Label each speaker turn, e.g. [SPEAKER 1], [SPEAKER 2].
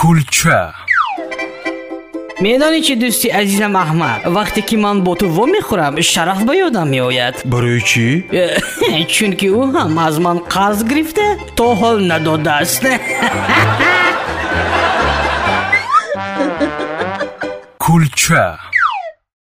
[SPEAKER 1] кулча
[SPEAKER 2] медонӣ чӣ дӯсти азизам аҳмад вақте ки ман бо ту вомехӯрам шараф ба ёдам меояд
[SPEAKER 1] барои чӣ
[SPEAKER 2] чунки ӯ ҳам аз ман қарз гирифта то ҳол надодааст
[SPEAKER 1] кулча